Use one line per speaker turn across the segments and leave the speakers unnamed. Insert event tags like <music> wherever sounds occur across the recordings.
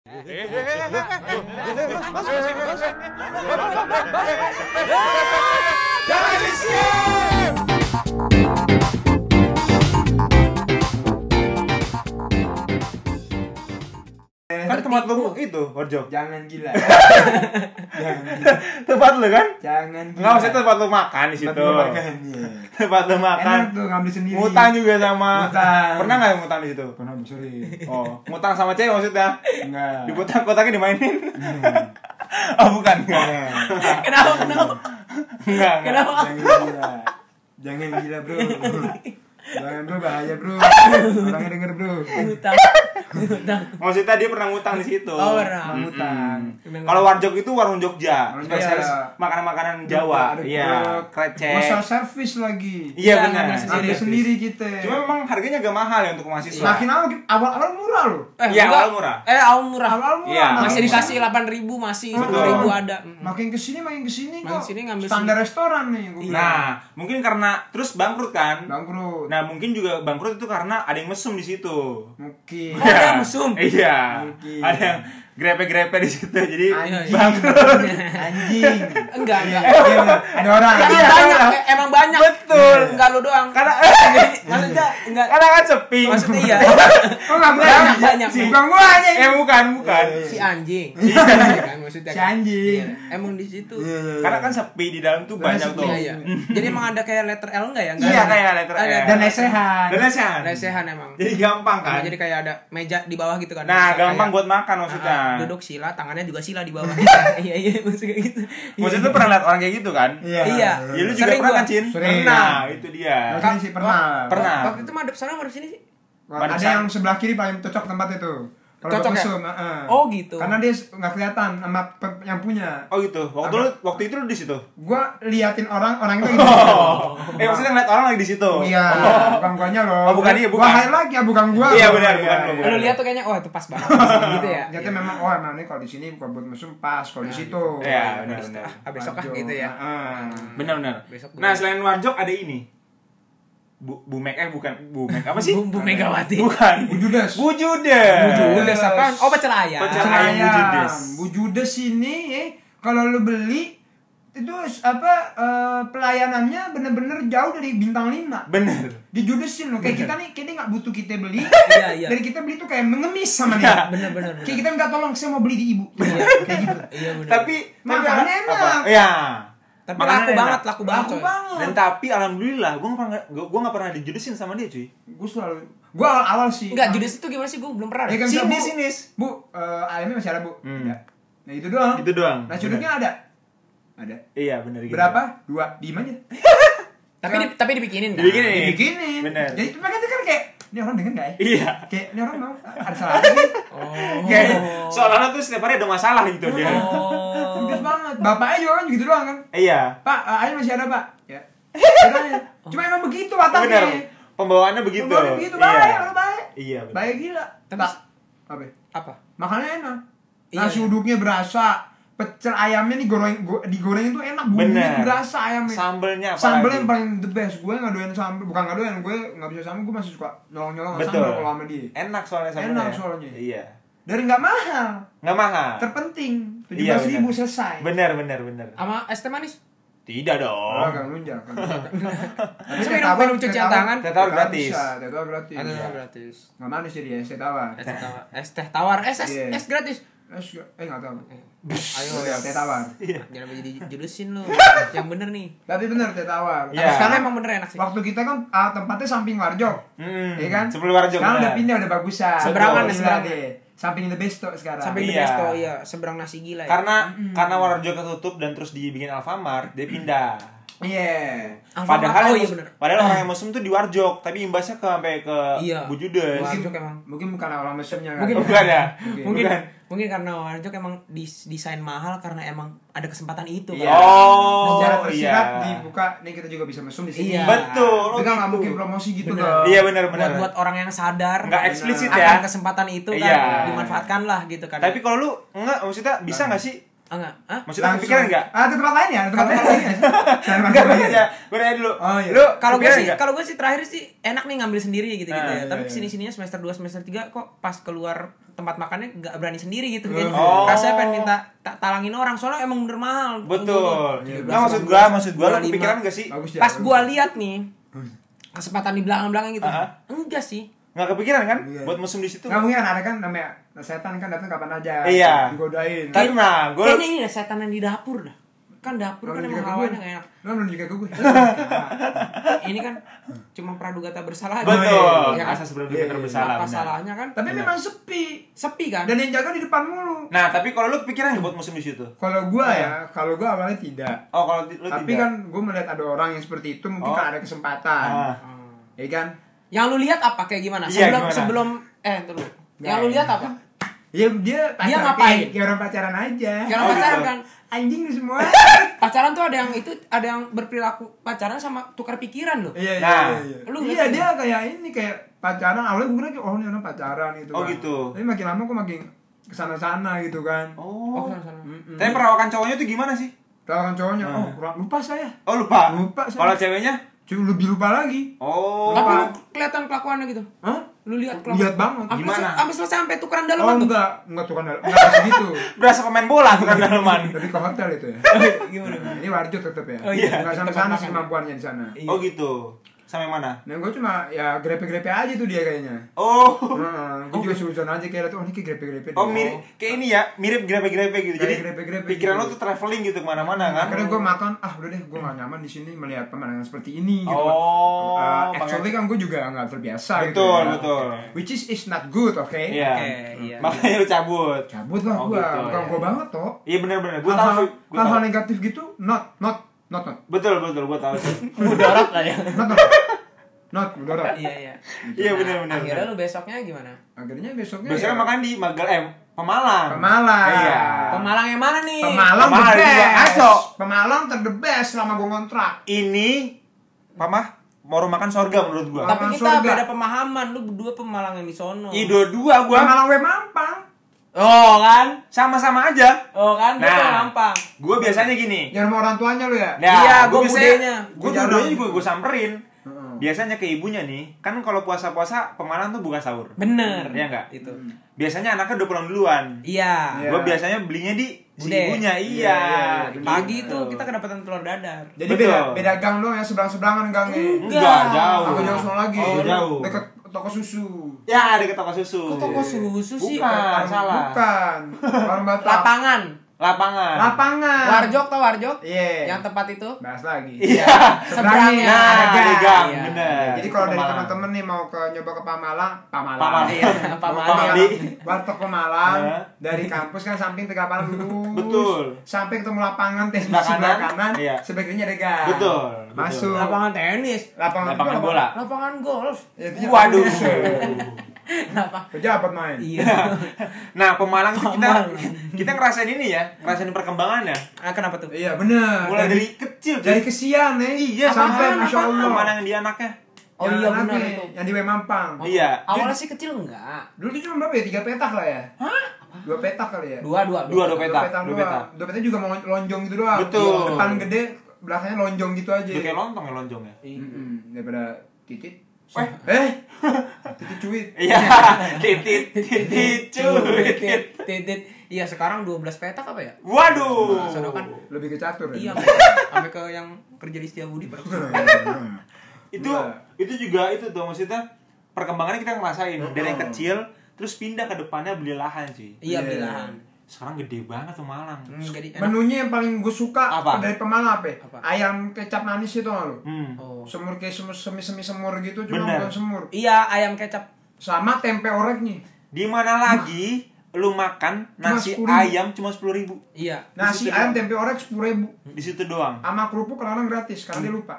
Kan Kan tempat lu itu, Warjo.
Jangan <laughs> gila.
Tempat lu kan?
Jangan gila.
Enggak usah tempat lu makan di situ.
Tempat gua makan, iya.
Tempat lu makan.
Enak tuh ngambil sendiri.
Ngutang juga sama.
Ngutang.
Pernah enggak ngutang di situ?
Pernah <laughs> sorry.
Oh, ngutang sama cewek maksudnya.
Enggak.
Diputar kotaknya dimainin.
Hmm.
<laughs> oh, bukan. Enggak.
Iya.
<laughs>
Kenapa kenapa?
Enggak. enggak.
Kenapa?
Jangan gila. Jangan gila, Bro. Jangan bro bahaya bro. Orangnya denger bro.
Hutang. Hutang.
Maksudnya dia pernah ngutang di situ.
Oh, pernah.
Mm-mm.
Ngutang.
Kalau warjok itu warung Jogja,
Warung
spesialis
Jogja.
makanan-makanan Jawa.
Ada
Iya,
truk. Masa
krecek.
servis
Iya
lagi.
Iya,
benar.
ngambil
Ambil sendiri kita. Iya.
Cuma memang harganya agak mahal ya untuk mahasiswa.
makin awal awal-awal murah loh.
<laughs> Eh,
Iya,
enggak.
awal murah.
Eh, awal murah.
Awal-awal murah.
Iya.
makin
Masih
Awal
dikasih 8.000 masih
Betul.
10.000 ada. Mm.
Makin kesini makin kesini
Makin
kok.
sini ngambil
standar restoran nih. Gue
Nah, mungkin karena terus bangkrut kan?
iya. bangkrut.
Nah, mungkin juga bangkrut itu karena ada yang mesum di situ.
Mungkin.
Oh, ada mesum?
Iya.
Mungkin.
Ada yang grepe-grepe di situ. Jadi
Anjing.
bangkrut.
Anjing.
Iya, Enggak, enggak.
Iya, iya, bener. Ada orang.
Emang
Iya,
banyak,
iya.
eh, emang banyak.
Betul.
Enggak lu doang.
Karena
<laughs> maksudnya enggak
karena kan sepi.
maksudnya iya.
Oh, enggak
Banyak,
berani.
banyak.
Si- Bukan gua aja.
Eh bukan, bukan.
si
<laughs>
anjing. Iya kan maksudnya.
Si
kan.
anjing.
Iya, Emang di situ.
Karena kan sepi di dalam tuh
Karena
banyak
sepi,
tuh.
Iya, iya. Jadi emang ada kayak letter L enggak ya? Enggak
Iya,
ada.
kayak letter
Ada.
L.
Dan lesehan.
Dan lesehan.
Lesehan emang. Nah,
Jadi gampang kan?
Jadi kayak ada meja di bawah gitu kan.
Nah,
Kayak-
gampang buat makan maksudnya.
Ah, duduk sila, tangannya juga sila di
<laughs>
bawah. Iya iya maksudnya gitu.
Maksudnya lu pernah liat orang kayak gitu kan?
Iya.
Iya.
Ya lu juga
Sering Nah, kan
pernah
gua.
kan, Cin?
Sering.
Pernah, itu dia.
Maksudnya sih pernah.
Kan- Pernah.
Waktu itu madep sana madep sini sih.
Ada
Barusan.
yang sebelah kiri paling cocok tempat itu. Kalau
Cocok
buat
ya?
mesum, heeh.
Oh, gitu.
Karena dia nggak kelihatan sama pe- yang punya.
Oh gitu. Waktu lu waktu itu lu di
<laughs>
situ.
Gua liatin orang, orang
<laughs>
itu gitu.
Eh maksudnya ngeliat orang lagi di situ.
Iya, bukan guanya loh.
Oh, bukan, iya,
Gua
bukan.
highlight ya, bukan gua.
Iya, benar, bukan gua, Iya. bukan.
Lu lihat tuh kayaknya wah itu pas
<laughs>
banget gitu ya.
Ternyata memang oh emang ini kalau di sini bukan buat musim pas, kalau di situ.
Iya, benar-benar.
Ah, ah, besok ah
Waduh,
gitu ya.
heeh.
Benar-benar.
Besok gua-
Nah selain warjok ada ini. Bu, bu Mek- eh bukan bu Mek apa sih?
Bu, Bu Megawati.
Bukan.
Bu Judas.
Bujudes.
Udah apaan? Oh pecel ayam.
Pecel ayam. Bujudes.
Bujudes ini eh, kalau lu beli itu apa eh, pelayanannya bener-bener jauh dari bintang 5
Bener.
dijudesin loh kayak kita nih kita nggak butuh kita beli
<laughs> Iya, iya.
dari kita beli tuh kayak mengemis sama dia
<laughs> Bener bener. bener.
kayak kita nggak tolong saya mau beli di ibu
Iya.
kayak gitu
Iya bener.
Tapi tapi
Makanan
apa-
enak.
apa? Iya.
Tapi
Makanan
laku
enak.
banget, laku banget.
aku
coy.
banget
Dan tapi alhamdulillah gue pernah gue gua gak pernah dijudesin sama dia cuy.
gue selalu gue awal awal sih
Enggak, judes itu gimana sih? Gue belum pernah.
Ya kan,
Sinis,
Bu.
sinis.
bu eh, ayamnya masih ada bu
Hmm.
Ada. nah itu doang
Itu doang.
nah cudutnya ada ada
Iya bener. gitu.
berapa dua diem aja
Tapi di- tapi dibikinin kan?
Dibikinin. Iya.
dibikinin
Bener.
jadi makanya kan kayak ini orang denger nggak ya
Iya.
kayak ini orang mau "Ah, ada salah apa sih
Oh.
<laughs> Kayak seolah-olah tuh setiap hari ada masalah gitu dia.
Oh.
Tegas banget bapaknya juga kan gitu doang kan
Iya.
pak eh, ayam masih ada pak ya Udah,
<laughs>
ya. cuma emang begitu
Bener.
wataknya
Pembawaannya begitu.
Pembawaannya begitu,
Iya.
baik, kalau baik.
Iya. bener.
baik gila
Tapi-
Pak, apa ya?
Apa?
makannya enak
Iya,
nasi
iya.
uduknya berasa pecel ayamnya digoreng go, digoreng itu enak bumbunya
Bener.
tuh berasa ayamnya
Sambelnya apa
sambelnya
lagi?
yang paling the best gue nggak doyan sambel bukan nggak doyan gue nggak bisa sambel gue masih suka nyolong nyolong
Betul.
sambel kalau sama dia
Enak soalnya sambelnya.
Enak
ya.
soalnya.
Iya.
dari nggak mahal
Nggak mahal.
terpenting tujuh
Iya,
ribu
bener.
selesai
Bener bener bener.
Sama es teh manis?
Tidak dong.
Oh, kan lunjak. kan lunjak. Tapi kan
minum-
teh tawar-
minum cucian
teh tawar-
tangan?
Teh tawar gratis.
bisa, Teh tawar gratis.
Ada
Iya.
gratis.
Nggak manis jadi es teh tawar.
Es teh tawar. Es teh tawar. Es es,
Iya.
es gratis.
Es eh nggak tahu.
Ayo
Ayo
ya.
teh tawar.
Iya.
Jangan sampai jadi judesin
<laughs>
lu. Yang bener nih.
Tapi bener teh
Iya.
tawar. Tapi
Karena
Sekarang
emang bener enak sih.
waktu kita kan ah, tempatnya samping Warjo.
Hmm,
Iya kan?
sebelum Warjo,
Sekarang
benar.
udah pindah udah bagusan.
Seberangan,
Gila
seberangan.
deh. Samping the best tuh sekarang.
Sampai di
Iya.
Besto ya, seberang nasi gila ya.
Karena karena Warjo ketutup dan terus dibikin Alfamart, dia pindah.
Iya.
Alfamart,
Padahal
oh
yang
iya
mus-
bener.
padahal
<clears throat>
orang yang mesum tuh di Warjok, tapi imbasnya ke sampai ke
Iya.
Bujudes.
Warjok.
Mungkin
emang.
mungkin bukan orang mesumnya kan.
Mungkin.
Oh, Bukan
<laughs>
ya?
Mungkin.
mungkin
Bukan.
mungkin karena Warjok emang dis- desain mahal karena emang ada kesempatan itu kan.
Iya. Oh,
Secara
iya.
tersirat dibuka nih kita juga bisa mesum di sini.
Iya.
Betul. Oh,
Kita nggak mungkin promosi gitu
Bener.
dong.
Iya benar benar.
Buat buat orang yang sadar
Nggak eksplisit ya.
akan kesempatan itu kan
Iya.
dimanfaatkan lah gitu kan.
Tapi kalau lu enggak maksudnya bisa enggak sih?
ah, enggak, Hah?
Maksudnya kepikiran enggak?
Ah, ada tempat lain ya? Ada tempat lain lagi ya? Jangan
Enggak,
makan
gue
aja.
nanya. Gue nanya dulu.
Oh, iya.
Lu
Kalau gue
kepikiran
sih,
nggak?
kalau gue sih terakhir sih enak nih ngambil sendiri gitu-gitu
Ah,
ya.
iya,
Tapi
iya.
kesini sininya semester 2, semester 3 kok pas keluar tempat makannya nggak berani sendiri gitu
Eh.
kan.
Oh.
Rasanya pengen minta ta- talangin orang soalnya emang bener mahal.
Betul.
Iya,
Nah, maksud gua, maksud gua lu
25.
kepikiran gak sih?
Bagus Hmm. ya.
Pas gua lihat nih kesempatan di belakang-belakang gitu.
Ah.
Enggak sih.
Nggak kepikiran kan
Iya.
buat musim di situ?
Nggak mungkin ada kan namanya setan kan datang kapan aja.
Iya.
Digodain.
Kan nah, gua
Kayaknya ini dah setan yang di dapur dah. Kan dapur kan
Nonton
emang
juga ke
hawanya
gue.
nggak enak.
Nonton juga ya? ke
<laughs>
gue.
Nah, ini kan cuma praduga tak bersalah. aja.
betul.
Iya kan?
Asas berduga
Iya, iya.
bersalah.
Apa
benar.
salahnya kan?
Tapi memang sepi.
Sepi kan?
Dan yang jaga di depan mulu.
Nah, tapi kalau lu kepikiran nggak buat musim di situ?
Kalau gua ya, kalau gua awalnya tidak.
Oh, kalau ti- Iya. lu
Tapi
tidak.
kan gua melihat ada orang yang seperti itu mungkin
Oh.
kan ada kesempatan.
Ah.
Hmm.
Ya kan?
Yang lu lihat apa kayak gimana?
Iya,
Sebelum
gimana?
sebelum eh tunggu. Yang lu
enak.
lihat apa?
Ya dia pacar
ngapain?
kayak- Kayak orang pacaran aja.
Oh,
Kayak orang
gitu.
Iya.
pacaran kan.
Anjing lu
<laughs>
semua.
Pacaran tuh ada yang itu ada yang berperilaku pacaran sama tukar pikiran loh.
Iya, iya,
Nah.
iya.
Lu
Iya,
ngerti
dia kayak ini kayak pacaran. Awalnya gue kira oh ini orang pacaran gitu.
Oh,
kan.
gitu.
Tapi makin lama kok makin kesana-sana gitu kan.
Oh,
Oh.
sana-sana.
Tapi perawakan cowoknya tuh gimana sih?
Tawaran cowoknya,
Nah.
oh kurang lupa saya.
Oh, lupa.
Lupa, saya.
Kalau ceweknya?
Cuma lebih lupa lagi.
Oh.
Tapi lu
Pak.
kelihatan kelakuannya gitu.
Hah?
Lu lihat kelakuan.
Lihat banget.
Sampai
Gimana?
se- Sampai selesai sampai tukeran
Oh
dalaman tuh.
enggak, enggak tukang dalam. Enggak <laughs> segitu.
Berasa pemain bola tuh kan
<laughs>
daleman.
Lebih ke hotel itu ya.
Oh, iya.
Gimana?
Nah, ini warjut tetap ya.
Oh, iya.
Enggak sampai
Tempat
sana
makan.
sih
ya.
kemampuannya di sana.
Iya.
Oh, gitu. Sama yang mana?
Dan gue cuma ya grepe-grepe aja tuh dia kayaknya.
Oh.
Heeh, gue juga sujon aja kayak tuh oh ini kayak grepe-grepe.
Oh,
deh.
mirip kayak ini ya, mirip grepe-grepe gitu.
Kayak
Jadi
grepe-grepe
pikiran
gitu.
lo tuh traveling gitu kemana mana kan?
Akhirnya gue makan, ah udah deh gue gak nyaman di sini melihat pemandangan seperti ini gitu.
Oh,
Eh,
makanya-
actually kan gue juga gak terbiasa gitu.
Betul,
ya.
betul.
Which is is not good, oke?
Iya.
Oke, iya.
Makanya lu cabut.
Cabut lah
Oh,
gue,
gitu, ya.
bukan gue banget toh.
Iya benar-benar. Gue tahu
Hal-hal
sih. Gua tahu.
hal-hal negatif gitu, not, not, not, not,
Betul betul gue tahu
<laughs>
sih.
Mudarat lah ya.
<laughs>
not, not, not, mudarat.
Iya iya.
Iya
Nah,
benar-benar.
Akhirnya lu besoknya gimana?
Akhirnya besoknya.
Biasanya
ya,
makan di Magal eh Pemalang.
Pemalang.
Iya.
Pemalang yang mana nih?
Pemalang,
Pemalang
the
juga
best.
ngaco.
Pemalang ter the best selama gue ngontrak.
Ini pamah mau makan sorga menurut gua.
Pemalang
Tapi kita
surga.
beda pemahaman. Lu berdua pemalang yang di sono.
Iya dua-dua gua
Pemalang we mampang.
Oh kan?
sama-sama aja.
Oh kan? Nah.
Nah.
gampang.
Gua biasanya gini.
Jangan sama orang tuanya lu ya.
Nah,
Iya,
gua
gua
biasanya-
budenya.
Gua
Gua
dua-duanya
jarang.
juga gua samperin.
Heeh.
Biasanya ke ibunya nih, kan kalau puasa-puasa pemalang tuh buka sahur.
Bener.
Iya nggak?
Itu.
Biasanya anaknya udah pulang duluan.
Iya.
Iya.
Gua biasanya belinya di si
Bude.
ibunya. Iya.
Iya, iya, iya.
Pagi itu kita kedapatan telur dadar.
Jadi
Betul. Iya.
beda beda gang doang ya seberang seberangan gangnya.
Enggak.
Enggak, jauh.
Aku jauh sana lagi.
Oh, jauh.
Dekat toko susu.
Ya, ada ke toko susu.
Kok toko susu sih?
Bukan,
Warung-
Ah, salah.
Bukan. Warung Batak.
Lapangan.
Lapangan.
Lapangan.
Warjok tau Warjok?
Iya.
Yang tempat itu?
Bahas lagi.
Iya.
Seberangnya.
Seberangnya.
Nah,
Ada
di gang,
Iya.
bener.
Jadi kalau dari
Pemalang.
teman-teman nih mau ke nyoba ke Pamalang, Pamalang.
Pamalang. <laughs>
Iya,
Mau
Pamalang.
ke Warteg Pemalang
Iya.
dari kampus kan samping Tegal Parang lurus.
Betul.
Sampai ketemu lapangan teh di
Sebelah
sebelah
kanan.
kanan,
Iya.
sebelah kirinya ada gang.
Betul,
Masuk.
Lapangan tenis.
Lapangan,
Lapangan
itu
bola.
Lapangan golf. <laughs>
Ya, <laughs> itu
Waduh.
Kenapa?
Pejabat main.
Iya.
<laughs> nah, Pemalang tuh kita
Pemalang.
kita ngerasain ini ya, ngerasain perkembangannya.
Ah, kenapa tuh?
Iya benar.
Mulai dari kecil
dari kesian ya.
Iya,
sampai
apaan,
masya
apaan?
Allah.
Pemalang yang di anaknya.
Oh
Yang
iya
laki,
benar itu.
Yang di Mampang.
Oh. Iya.
Awalnya sih kecil enggak.
Dulu dia cuma berapa ya? Tiga petak lah ya. Hah? Dua petak kali ya.
Dua, dua,
Dua, dua
Dua
petak,
petak
dua
doang.
petak.
Dua petak juga mau lonjong gitu doang.
Betul.
Depan gede, belakangnya lonjong gitu aja.
Udah kayak lontong ya lonjongnya.
Iya. Mm-mm. Daripada titit.
Eh.
Eh? <laughs> titit cuit.
Iya, <laughs> titit titit cuit.
Titit, titit. Iya sekarang 12 petak apa ya?
Waduh.
Nah, sono kan.
Lebih ke catur <laughs>
Iya,
ya.
sampai sampai ke yang kerja di Setiabudi pada kesini.
Itu
Iya.
itu juga itu tuh maksudnya perkembangannya kita ngerasain dari yang
Mm-mm.
kecil terus pindah ke depannya beli lahan sih.
Iya.
Iya, bilang.
Sekarang gede banget Pemalang.
Mm.
Hmm, jadi enak.
Menunya yang paling gue suka
Apa?
dari Pemalang apa? ya?
Apa?
Ayam kecap manis itu nggak lu?
Hmm.
Oh.
Semur kayak semur semi semi semur gitu cuma
Bener.
bukan semur.
Iya, ayam kecap.
Sama tempe oreknya.
Di mana lagi lu makan
Cuma
nasi
10.000.
ayam cuma sepuluh ribu
Iya.
Nasi
Di situ
ayam
doang.
tempe orek sepuluh ribu.
di situ doang.
Sama kerupuk kadang-kadang gratis karena dia lupa.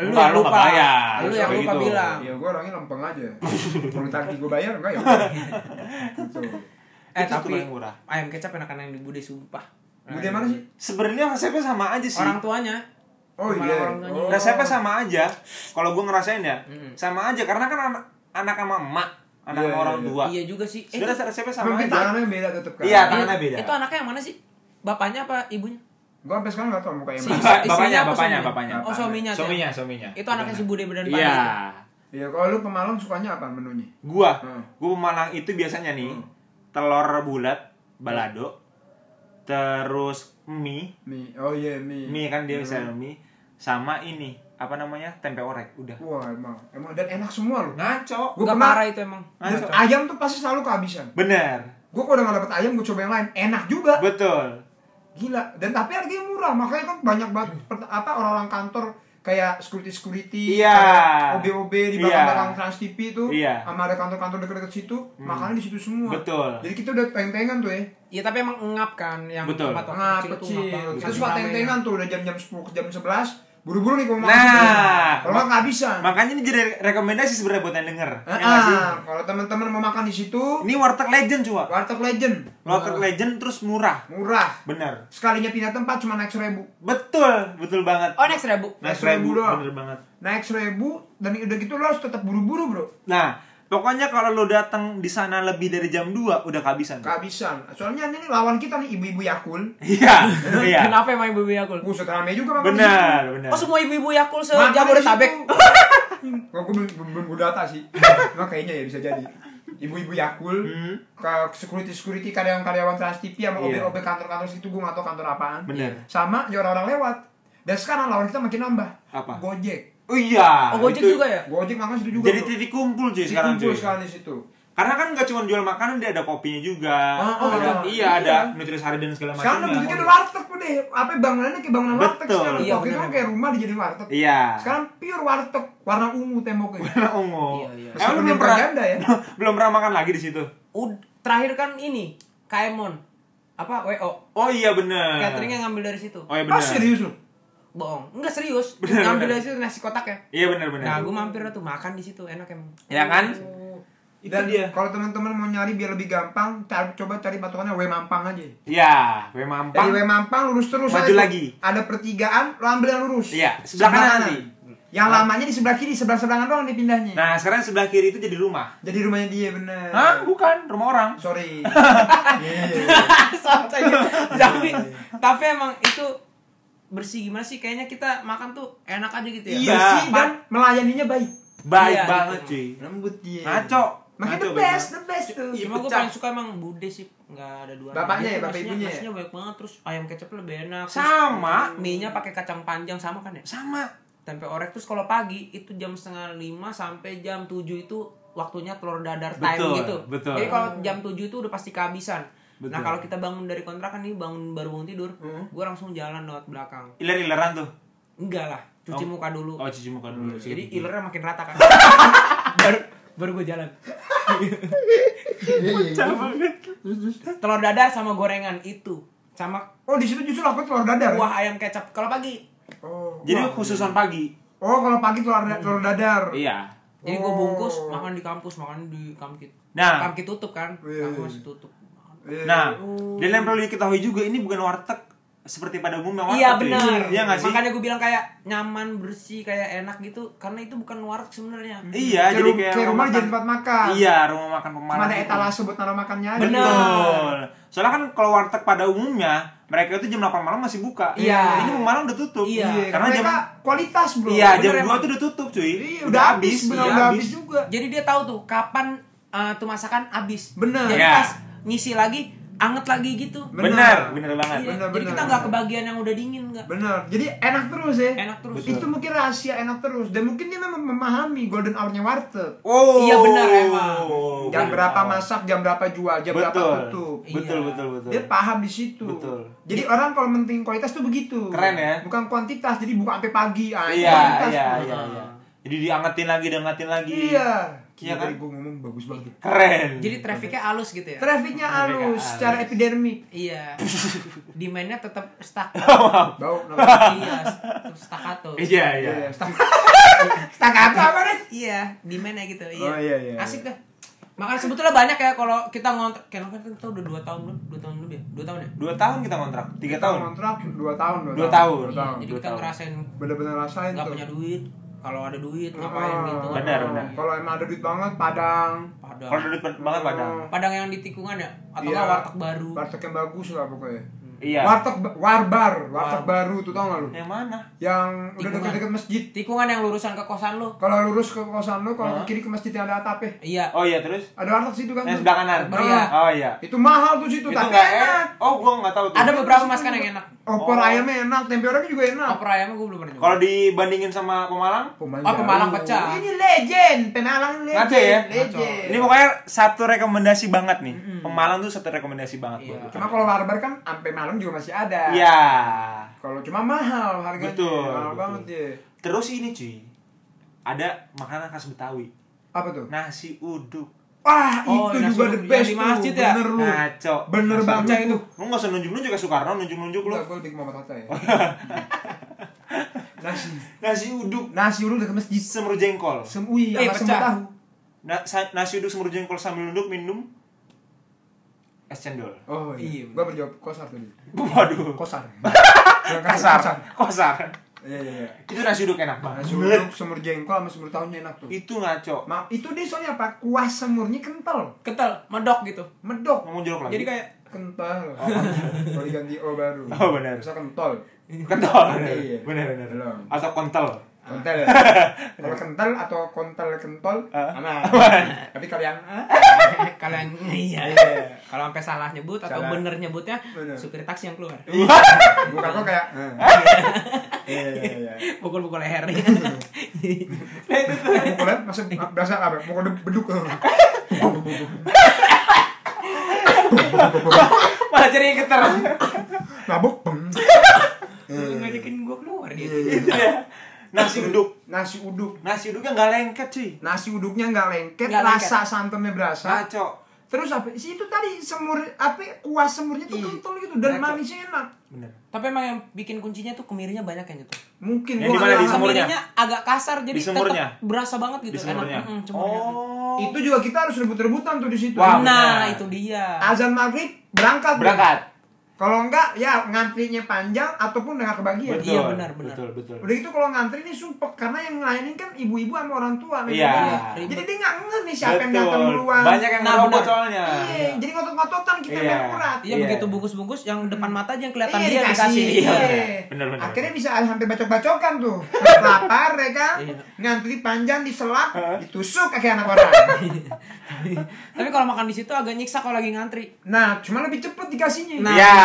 Lu
Enggak,
yang
lu
lupa.
nggak bayar.
Lu yang
Kayak
lupa
gitu.
bilang.
Ya gue orangnya lempeng
<laughs>
aja. Kalau tadi gue bayar enggak ya. Gitu.
Itu tuh
Eh, tapi
paling murah.
ayam kecap enakan yang di Bude sumpah. Eh,
Bude mana sih?
Sebenarnya resepnya sama aja sih.
Orang tuanya.
Oh
Kepala
iya.
orang tuanya.
Oh.
Resepnya sama aja. Kalau gue ngerasain ya,
Mm.
sama aja karena kan anak anak sama emak, anak sama
Iya, iya,
orang
iya.
tua.
Iya juga sih. Eh,
Sebenarnya resepnya sama
Mungkin
aja.
tangannya beda tetep kan.
Iya,
itu-
tangannya beda.
Itu anaknya yang mana sih? Bapaknya apa ibunya?
Gue sampai sekarang enggak tahu mukanya
Si-
mana.
Bapak-
istrinya
bapaknya,
apa
bapaknya,
suaminya?
bapaknya.
Oh, suaminya. tuh.
Suaminya, suaminya.
Itu anaknya si Bude Badan
Iya.
Padang itu.
Iya, kalau lu pemalang sukanya apa menunya?
Gua,
Hmm.
gua pemalang itu biasanya nih. telur bulat balado terus mie
mie oh iya mie
mie kan dia bisa mie sama ini apa namanya tempe orek udah
wah emang emang dan enak semua
Nah,
loh
ngaco
Gua
Gua
pernah-
parah itu emang.
Ngaco.
ayam tuh pasti selalu kehabisan
bener
gue kalau udah gak dapet ayam gue coba yang lain enak juga
betul
gila dan tapi harganya murah makanya kan banyak banget
Hmm.
per- apa orang-orang kantor kayak security security
Iya.
OB-OB
Iya.
di belakang-belakang Trans TV itu
Iya. Hmm.
sama ada kantor-kantor dekat-dekat situ makannya di situ semua
Betul.
jadi kita udah teng-tengan tuh ya
Iya tapi emang ngap kan yang
Betul.
tempat waktu
Nah,
kecil tuh
kecil.
ngap banget.
Kita
Saking
suka
ramenya.
teng-tengan tuh udah jam-jam 10 ke jam 11 buru-buru nih kalau mau
Nah.
makan situ. kalau nggak kehabisan
makanya ini jadi rekomendasi sebenarnya buat yang denger
Ah,
Ya nggak sih?
ah, kalau teman-teman mau makan di situ
ini warteg legend cua
warteg legend
warteg legend terus murah
murah
bener
sekalinya pindah tempat cuma naik seribu
betul betul banget
Oh next ribu.
Naik
Naik seribu
seribu,
doang.
bener banget
naik seribu dan udah gitu lo harus tetap buru-buru bro
Nah, pokoknya kalau lo datang di sana lebih dari jam 2 udah kehabisan.
kehabisan soalnya ini lawan kita nih ibu-ibu yakul
Iya, iya.
Kenapa emang ya, ibu-ibu Yakul?
buset rame juga makan
Benar, benar.
Oh semua ibu-ibu Yakul
di situ. Makan
se-Jabodetabek.
di situ. Kok gue belum belum belum data sih Nah kayaknya ya bisa jadi ibu-ibu yakul
Hmm.
ke security security karyawan-karyawan trans TV sama
Iya.
ob ob kantor-kantor situ gue nggak tahu kantor apaan
Benar.
sama ya orang-orang lewat dan sekarang lawan kita makin nambah
Apa?
gojek
Oh iya.
Oh Gojek
itu-
juga ya?
gojek makan situ juga
Jadi
bro.
titik kumpul cuy
Jadi
sekarang
kumpul
cuy.
sekarang di situ
Karena kan nggak cuma jual makanan, dia ada kopinya juga.
Ah, oh,
ada,
iya.
iya, ada nutrisari dan segala
sekarang udah
macamnya.
bentuknya udah warteg tuh deh apa bangunannya kayak bangunan
Betul.
warteg sekarang
Iya,
waktu itu
benar,
kan kayak rumah dijadiin warteg
Iya. <laughs>
sekarang pure warteg warna ungu temboknya
Karena ungu.
Iya, iya.
Emang lu
Meskipun
belum
bukan
pernah
janda ya.
<laughs> belum pernah makan lagi di situ.
Ud- terakhir kan ini Kaemon apa WO
Oh iya benar.
catering yang ngambil dari situ.
Oh iya
ah
benar.
serius lu
Bohong. Enggak serius.
Bener,
ngambil
bener.
dari situ nasi kotak ya.
Iya benar benar.
Nah, gue mampir dah tuh makan di situ enak emang.
Ya kan? Itu
dan
dia.
kalau teman-teman mau nyari biar lebih gampang cari, coba cari patokannya W Mampang aja
Iya, gue
dari
mampang.
W Mampang lurus terus
Maju
aja tuh.
lagi.
ada pertigaan lo ambil yang lurus
Iya, sebelah kanan nanti.
yang lamanya di sebelah kiri sebelah seberangan doang dipindahnya
Nah, sekarang sebelah kiri itu jadi rumah.
jadi rumahnya dia bener
Hah? Bukan, rumah orang. <laughs>
sorry Iya, iya, iya.
<laughs> Santai. tapi tapi emang itu bersih gimana sih kayaknya kita makan tuh enak aja gitu ya.
Iya.
bersih dan
Pak-
melayaninya baik
Baik
Iya,
banget,
gitu.
cuy.
lembut dia
Ngaco.
Iya. makanya
Ngaco
the best the best tuh
Iya,
Cuma gue
pecah.
paling suka emang bude sih nggak ada dua.
Bapaknya ya, bapak
nasinya-
ibunya ya?
Nasinya banyak banget terus ayam kecap lebih enak. Terus
Sama,
mie nya pakai kacang panjang sama kan ya.
sama.
Tempe orek terus kalau pagi itu jam setengah lima sampai jam tujuh itu waktunya telur dadar time
Betul,
gitu.
betul.
Jadi kalau jam tujuh itu udah pasti kehabisan. Nah
Betul.
kalau kita bangun dari kontrakan nih bangun baru bangun tidur,
Hmm.
gue langsung jalan lewat belakang.
Iler-ileran tuh.
Enggak lah, cuci muka dulu.
Oh, cuci muka dulu.
Iya, Jadi ilernya makin rata kan. <laughs> baru baru gue jalan. Iya. Telur dadar sama gorengan itu sama
oh di situ justru laku telur dadar
kuah ayam kecap kalau pagi.
oh
Jadi
Iya.
khususan pagi.
oh kalau pagi telur da- telur dadar
Iya.
Jadi gue bungkus
Oh.
makan di kampus, makan di kamkit.
Nah.
kamkit tutup kan?
Iya,
Kampus
iya.
masih tutup.
Iya.
Nah,
Oh.
dan yang perlu diketahui juga ini bukan warteg seperti pada umumnya warteg.
Iya
cuy.
benar.
Iya nggak sih?
Makanya gue bilang kayak nyaman, bersih, kayak enak gitu karena itu bukan warteg sebenarnya.
Iya,
Kayak
jadi
ru-
kayak
kayak rumah
makan-
jadi tempat makan
Iya, rumah makan
Cuma
pemanah.
ada
gitu.
etalase buat naruh makannya aja. Iya.
Bener.
Betul. Soalnya kan kalau warteg pada umumnya mereka itu jam 8 malam masih buka.
Iya.
Ini malam udah tutup.
Iya.
Iya,
Karena jam
mereka kualitas bro.
Iya, jam 2
Bener, emang.
tuh udah tutup, cuy.
Iya, udah habis, bener
iya,
udah habis juga.
Jadi dia tahu tuh kapan eh, tuh masakan habis.
Bener.
Jadi
Iya.
pas ngisi lagi, anget lagi gitu.
Bener.
Benar, benar banget.
Iya,
Bener,
Jadi
bener.
kita nggak kebagian yang udah dingin nggak.
Bener. Jadi enak terus ya.
Enak terus.
Betul.
Itu mungkin rahasia enak terus dan mungkin dia memang memahami golden hour-nya warteg.
Oh.
Iya, benar, emang.
Benar.
Jam berapa masak, jam berapa jual, jam
Oh,
berapa
Betul.
tutup.
Iya.
Betul, betul, betul.
Dia paham di situ.
Betul. Iya.
Jadi orang kalau penting kualitas tuh begitu.
Keren ya?
Bukan kuantitas, jadi bukan sampai pagi. Ah, itu
Iya,
kualitas,
iya,
bro.
iya, iya. Jadi diangetin lagi, diangetin lagi.
Iya.
Iya
Gila,
kan?
tadi gua ngomong bagus banget.
Keren.
Jadi trafficnya halus gitu ya.
Trafficnya
Trafficnya
halus,
halus.
secara epidermik.
<laughs>
Iya. Demandnya tetap stuck.
Bau. no.
iya, tetap staccato.
Iya, iya.
Iya, stak- Staccato apa nih?
Iya, demandnya gitu. Iya.
Oh, iya, iya,
Asik dah. Makanya sebetulnya banyak ya kalau kita ngontrak. Kalau kan kita udah 2 tahun belum? 2 tahun lebih ya? 2 tahun ya?
Dua tahun kita kontrak, tiga tahun.
kontrak 2 tahun
Dua tahun.
Dua
Iya,
Jadi
dua
kita
tahun.
ngerasain
bener-bener rasain
nggak
tuh
punya duit. Kalau ada duit
Ah,
ngapain gitu. kan.
Benar, benar.
kalau emang ada duit banget padang
Padang.
Oh.
Kalau duduk banget padang.
Padang yang di tikungan ya atau
Iya.
nggak warteg baru.
warteg yang bagus lah pokoknya
Iya.
Warteg ba- warbar, warteg
War-
baru tuh tau gak lu?
Yang mana?
Yang udah
Tikungan.
deket-deket masjid.
Tikungan yang lurusan ke kosan lu.
Kalau lurus ke kosan lu, kalau
Hah?
ke kiri ke masjid yang ada atapnya.
Iya.
Oh iya terus?
Ada warteg situ kan?
Nah,
tuh.
sebelah kanan.
Sebelah
Iya.
kanan.
Oh iya.
Itu mahal tuh situ,
Itu
tapi
enggak
enak.
enak. Oh, gua enggak tahu
iya.
tuh.
Ada beberapa masakan kan yang enak.
Opor
Oh.
ayamnya enak, tempe orangnya juga enak.
Opor ayamnya gue belum pernah nyoba.
Kalau dibandingin sama Pemalang,
Pemalang,
Oh, Pemalang
jauh.
pecah.
Ini legend, Pemalang legend.
Ngaco ya?
Legend.
ini pokoknya satu rekomendasi banget nih. Pemalang tuh satu rekomendasi banget
Iya.
buat gua.
Cuma kalau warbar kan sampai malam juga masih ada.
Iya.
Kalau cuma mahal harganya.
Betul,
Mahal
betul.
banget ya.
Terus ini cuy. Ada makanan khas Betawi.
Apa tuh?
Nasi uduk.
Wah,
Oh,
itu
nasi
juga the
uduk yang
best
di
tuh.
masjid ya?
Bener lu.
Ngaco.
Bener
Nasi
banget
uduk.
itu.
Lu enggak usah nunjuk-nunjuk ke Soekarno, nunjuk-nunjuk lu.
Enggak, gue lebih ke Muhammad Hatta ya. <laughs> nasi
Nasi uduk
nasi urut ke masjid.
semur jengkol.
Semui sama
Eh,
semur
pecah.
tahu.
Na- sa- nasi uduk semur jengkol sambil nunduk minum es cendol. <laughs>
Oh iya.
Iya, bener.
Gua berjawab kosar tadi.
Waduh.
<laughs>
Kosar.
Kasar. Kosar.
Iya iya iya.
Itu nasi uduk enak banget.
Nasi urut semur jengkol sama semur tahunya enak tuh.
Itu ngaco.
Ma, itu dia soalnya apa? Kuah semurnya kental,
Kental, medok gitu.
medok,
Ngomong jorok lagi.
Jadi kayak
kental. Kalau diganti O baru.
Oh, benar.
Bisa kental.
<laughs> kental. bener.
Iya.
Bener bener.
Belum.
Atau kental.
Kental. Kalau kental atau kontal kental,
Ah.
aman. Tapi kalau yang ah,
kalau yang <laughs> iya.
iya.
Kalau sampai salah nyebut atau
Salah.
bener nyebutnya,
Bener. Iya.
supir taksi yang keluar.
bukan kok kayak ah. Iya iya iya.
<laughs> Pukul-pukul leher.
<laughs> Mukul ya, masuk berasa apa? Mukul de- beduk. <laughs>
Malah jadi yang geter.
Mabuk. Beng.
Lu Ngajakin gua keluar dia.
Hmm.
Itu ya. Nasi uduk.
Nasi uduk.
Nasi uduknya nggak lengket cuy.
Nasi uduknya nggak lengket,
Nggak lengket.
rasa santannya berasa.
Ngaco.
Terus apa? Si itu tadi semur apa kuah semurnya tuh
Iya.
kental gitu dan
Enak, Cok.
manisnya enak.
Bener.
Tapi emang yang bikin kuncinya tuh kemirinya banyak kayaknya tuh.
Mungkin
Yang di
gua
mana? Di
nggak-
semur? Semurnya?
Kemirinya agak kasar jadi
Di semurnya?
tetep berasa banget
Di
gitu
semurnya.
Mm-mm, semurnya.
Oh.
Itu juga kita harus rebut-rebutan tuh di situ.
Wah,
Nah,
benar.
itu dia.
Azan maghrib berangkat.
Berangkat.
Kalau enggak ya ngantrinya panjang ataupun nggak kebagian.
Betul.
Iya, benar, benar.
Betul betul.
Udah gitu kalau ngantri ini sumpek karena yang ngelayanin kan ibu-ibu sama orang tua. memang.
Iya.
Iya.
Jadi dia nggak ngeh nih siapa yang datang
Betul.
duluan.
Banyak yang
Nah,
ngerobot
benar.
soalnya.
Iya, jadi ngotot-ngototan kita
Iya.
main urat.
Iya
Iya.
begitu bungkus-bungkus yang depan mata aja yang kelihatan
Iya,
dia dikasih.
Iya.
Bener, bener.
Akhirnya bisa hampir bacok-bacokan tuh. Lapar ya kan?
Iya.
Ngantri panjang diselak, ditusuk kaki anak
<laughs>
orang.
Iya. Tapi kalau makan di situ agak nyiksa kalau lagi ngantri.
Nah, cuma lebih cepet dikasihnya.
Nah.
Iya,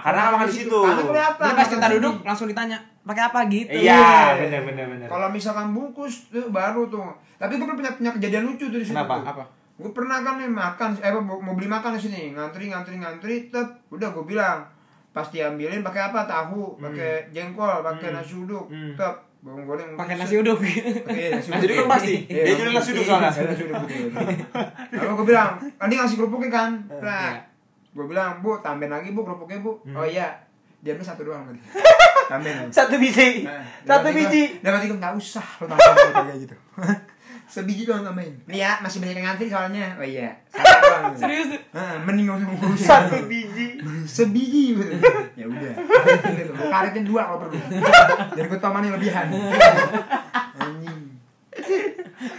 karena kan makan di situ.
Karena kelihatan.
Jadi pas kita
makan
duduk
sendiri.
langsung ditanya, "Pakai apa?" gitu.
Iya,
Iya.
benar benar benar.
Kalau misalkan bungkus tuh baru tuh. Tapi gue pernah punya kejadian lucu tuh di sini.
Kenapa?
tuh.
Apa?
Gue pernah kan nih makan, eh apa, mau beli makan di sini, ngantri ngantri ngantri, tep, udah gue bilang pasti ambilin pakai apa tahu, pakai jengkol, pakai nasi uduk,
Hmm.
tep, bawang goreng,
Pakai nasi uduk.
Pakai nasi
<laughs>
Nasi uduk kan pasti.
Iya.
Dia jualan nasi uduk soalnya.
Iya, nasi uduk, betul. Lalu gue bilang, kan dia ngasih kerupuknya kan, nah, gue bilang bu tambahin lagi bu kerupuknya bu, oh iya, dia ambil satu doang
<laughs>
tadi, tambahin lagi.
Satu biji.
Nah,
Satu
tiba-tiba-
biji.
Dan nanti gue nggak usah lo tambahin gua kayak gitu. <laughs> Sebiji doang tambahin. Nih ya masih banyak yang ngantri soalnya. Oh iya. Satu
<laughs>
doang.
Serius tuh.
Heeh, mending gak usah ngurusin.
Satu biji.
Sebiji gitu. Ya udah. Gitu. Karetnya dua kalau perlu. Jadi gue tau mana yang
<laughs>
lebihan. Anjing.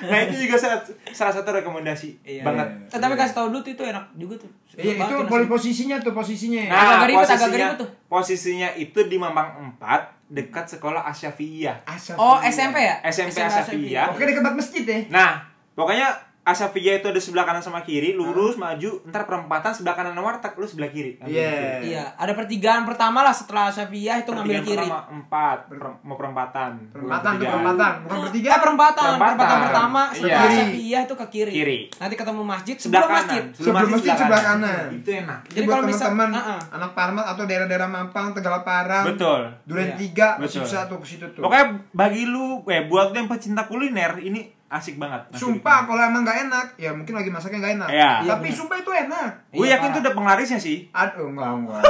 Nah, itu juga salah, salah satu rekomendasi banget.
iya.
Eh, Tapi kasih tau dulu tuh itu enak juga tuh.
Iya itu
Banget tuh
poli
nasi.
posisinya tuh posisinya. ya?
Nah,
Agak ribet, agak
posisinya,
ribet tuh.
posisinya itu di Mampang 4 dekat sekolah Asyafiyah.
Asal
Oh,
punya.
SMP ya?
SMP Asafia.
Iya. Pokoknya dekat banget masjid ya.
Nah, pokoknya Asyafiyah itu ada sebelah kanan sama kiri, lurus maju, ntar perempatan sebelah kanan warteg, lu sebelah kiri. Ambil
Iya.
kiri.
Iya, ada pertigaan pertama lah setelah Syafi'iyah itu
Pertigaan
ngambil kiri. Ya,
pertama empat per- mau perempatan.
Perempatan tuh
Pertigaan.
perempatan. Bukan
Eh,
bertiga.
perempatan.
Perempatan.
Perempatan pertama setelah
Iya.
Syafi'iyah itu ke kiri.
Kiri.
Nanti ketemu masjid
Sebelah
sebelum
kanan.
masjid.
Sebelum masjid, sebelah kanan.
Itu enak.
Jadi
Jadi
buat
kalau misal-
teman-teman
Ah, ah.
anak Parmat atau daerah-daerah Mampang, Tegalaparang,
Betul.
Duren
Iya.
tiga masih
Betul.
bisa tuh ke situ tuh.
Pokoknya bagi lu, eh buat lu yang pecinta kuliner, ini asik banget. Nasi
Sumpah kalau emang nggak enak, ya mungkin lagi masaknya nggak enak.
Iya.
Tapi
Iya, benar.
sumpah itu enak. oh,
Gue
Iya,
yakin
parah.
itu udah penglarisnya sih.
Aduh, enggak
<laughs>
enggak.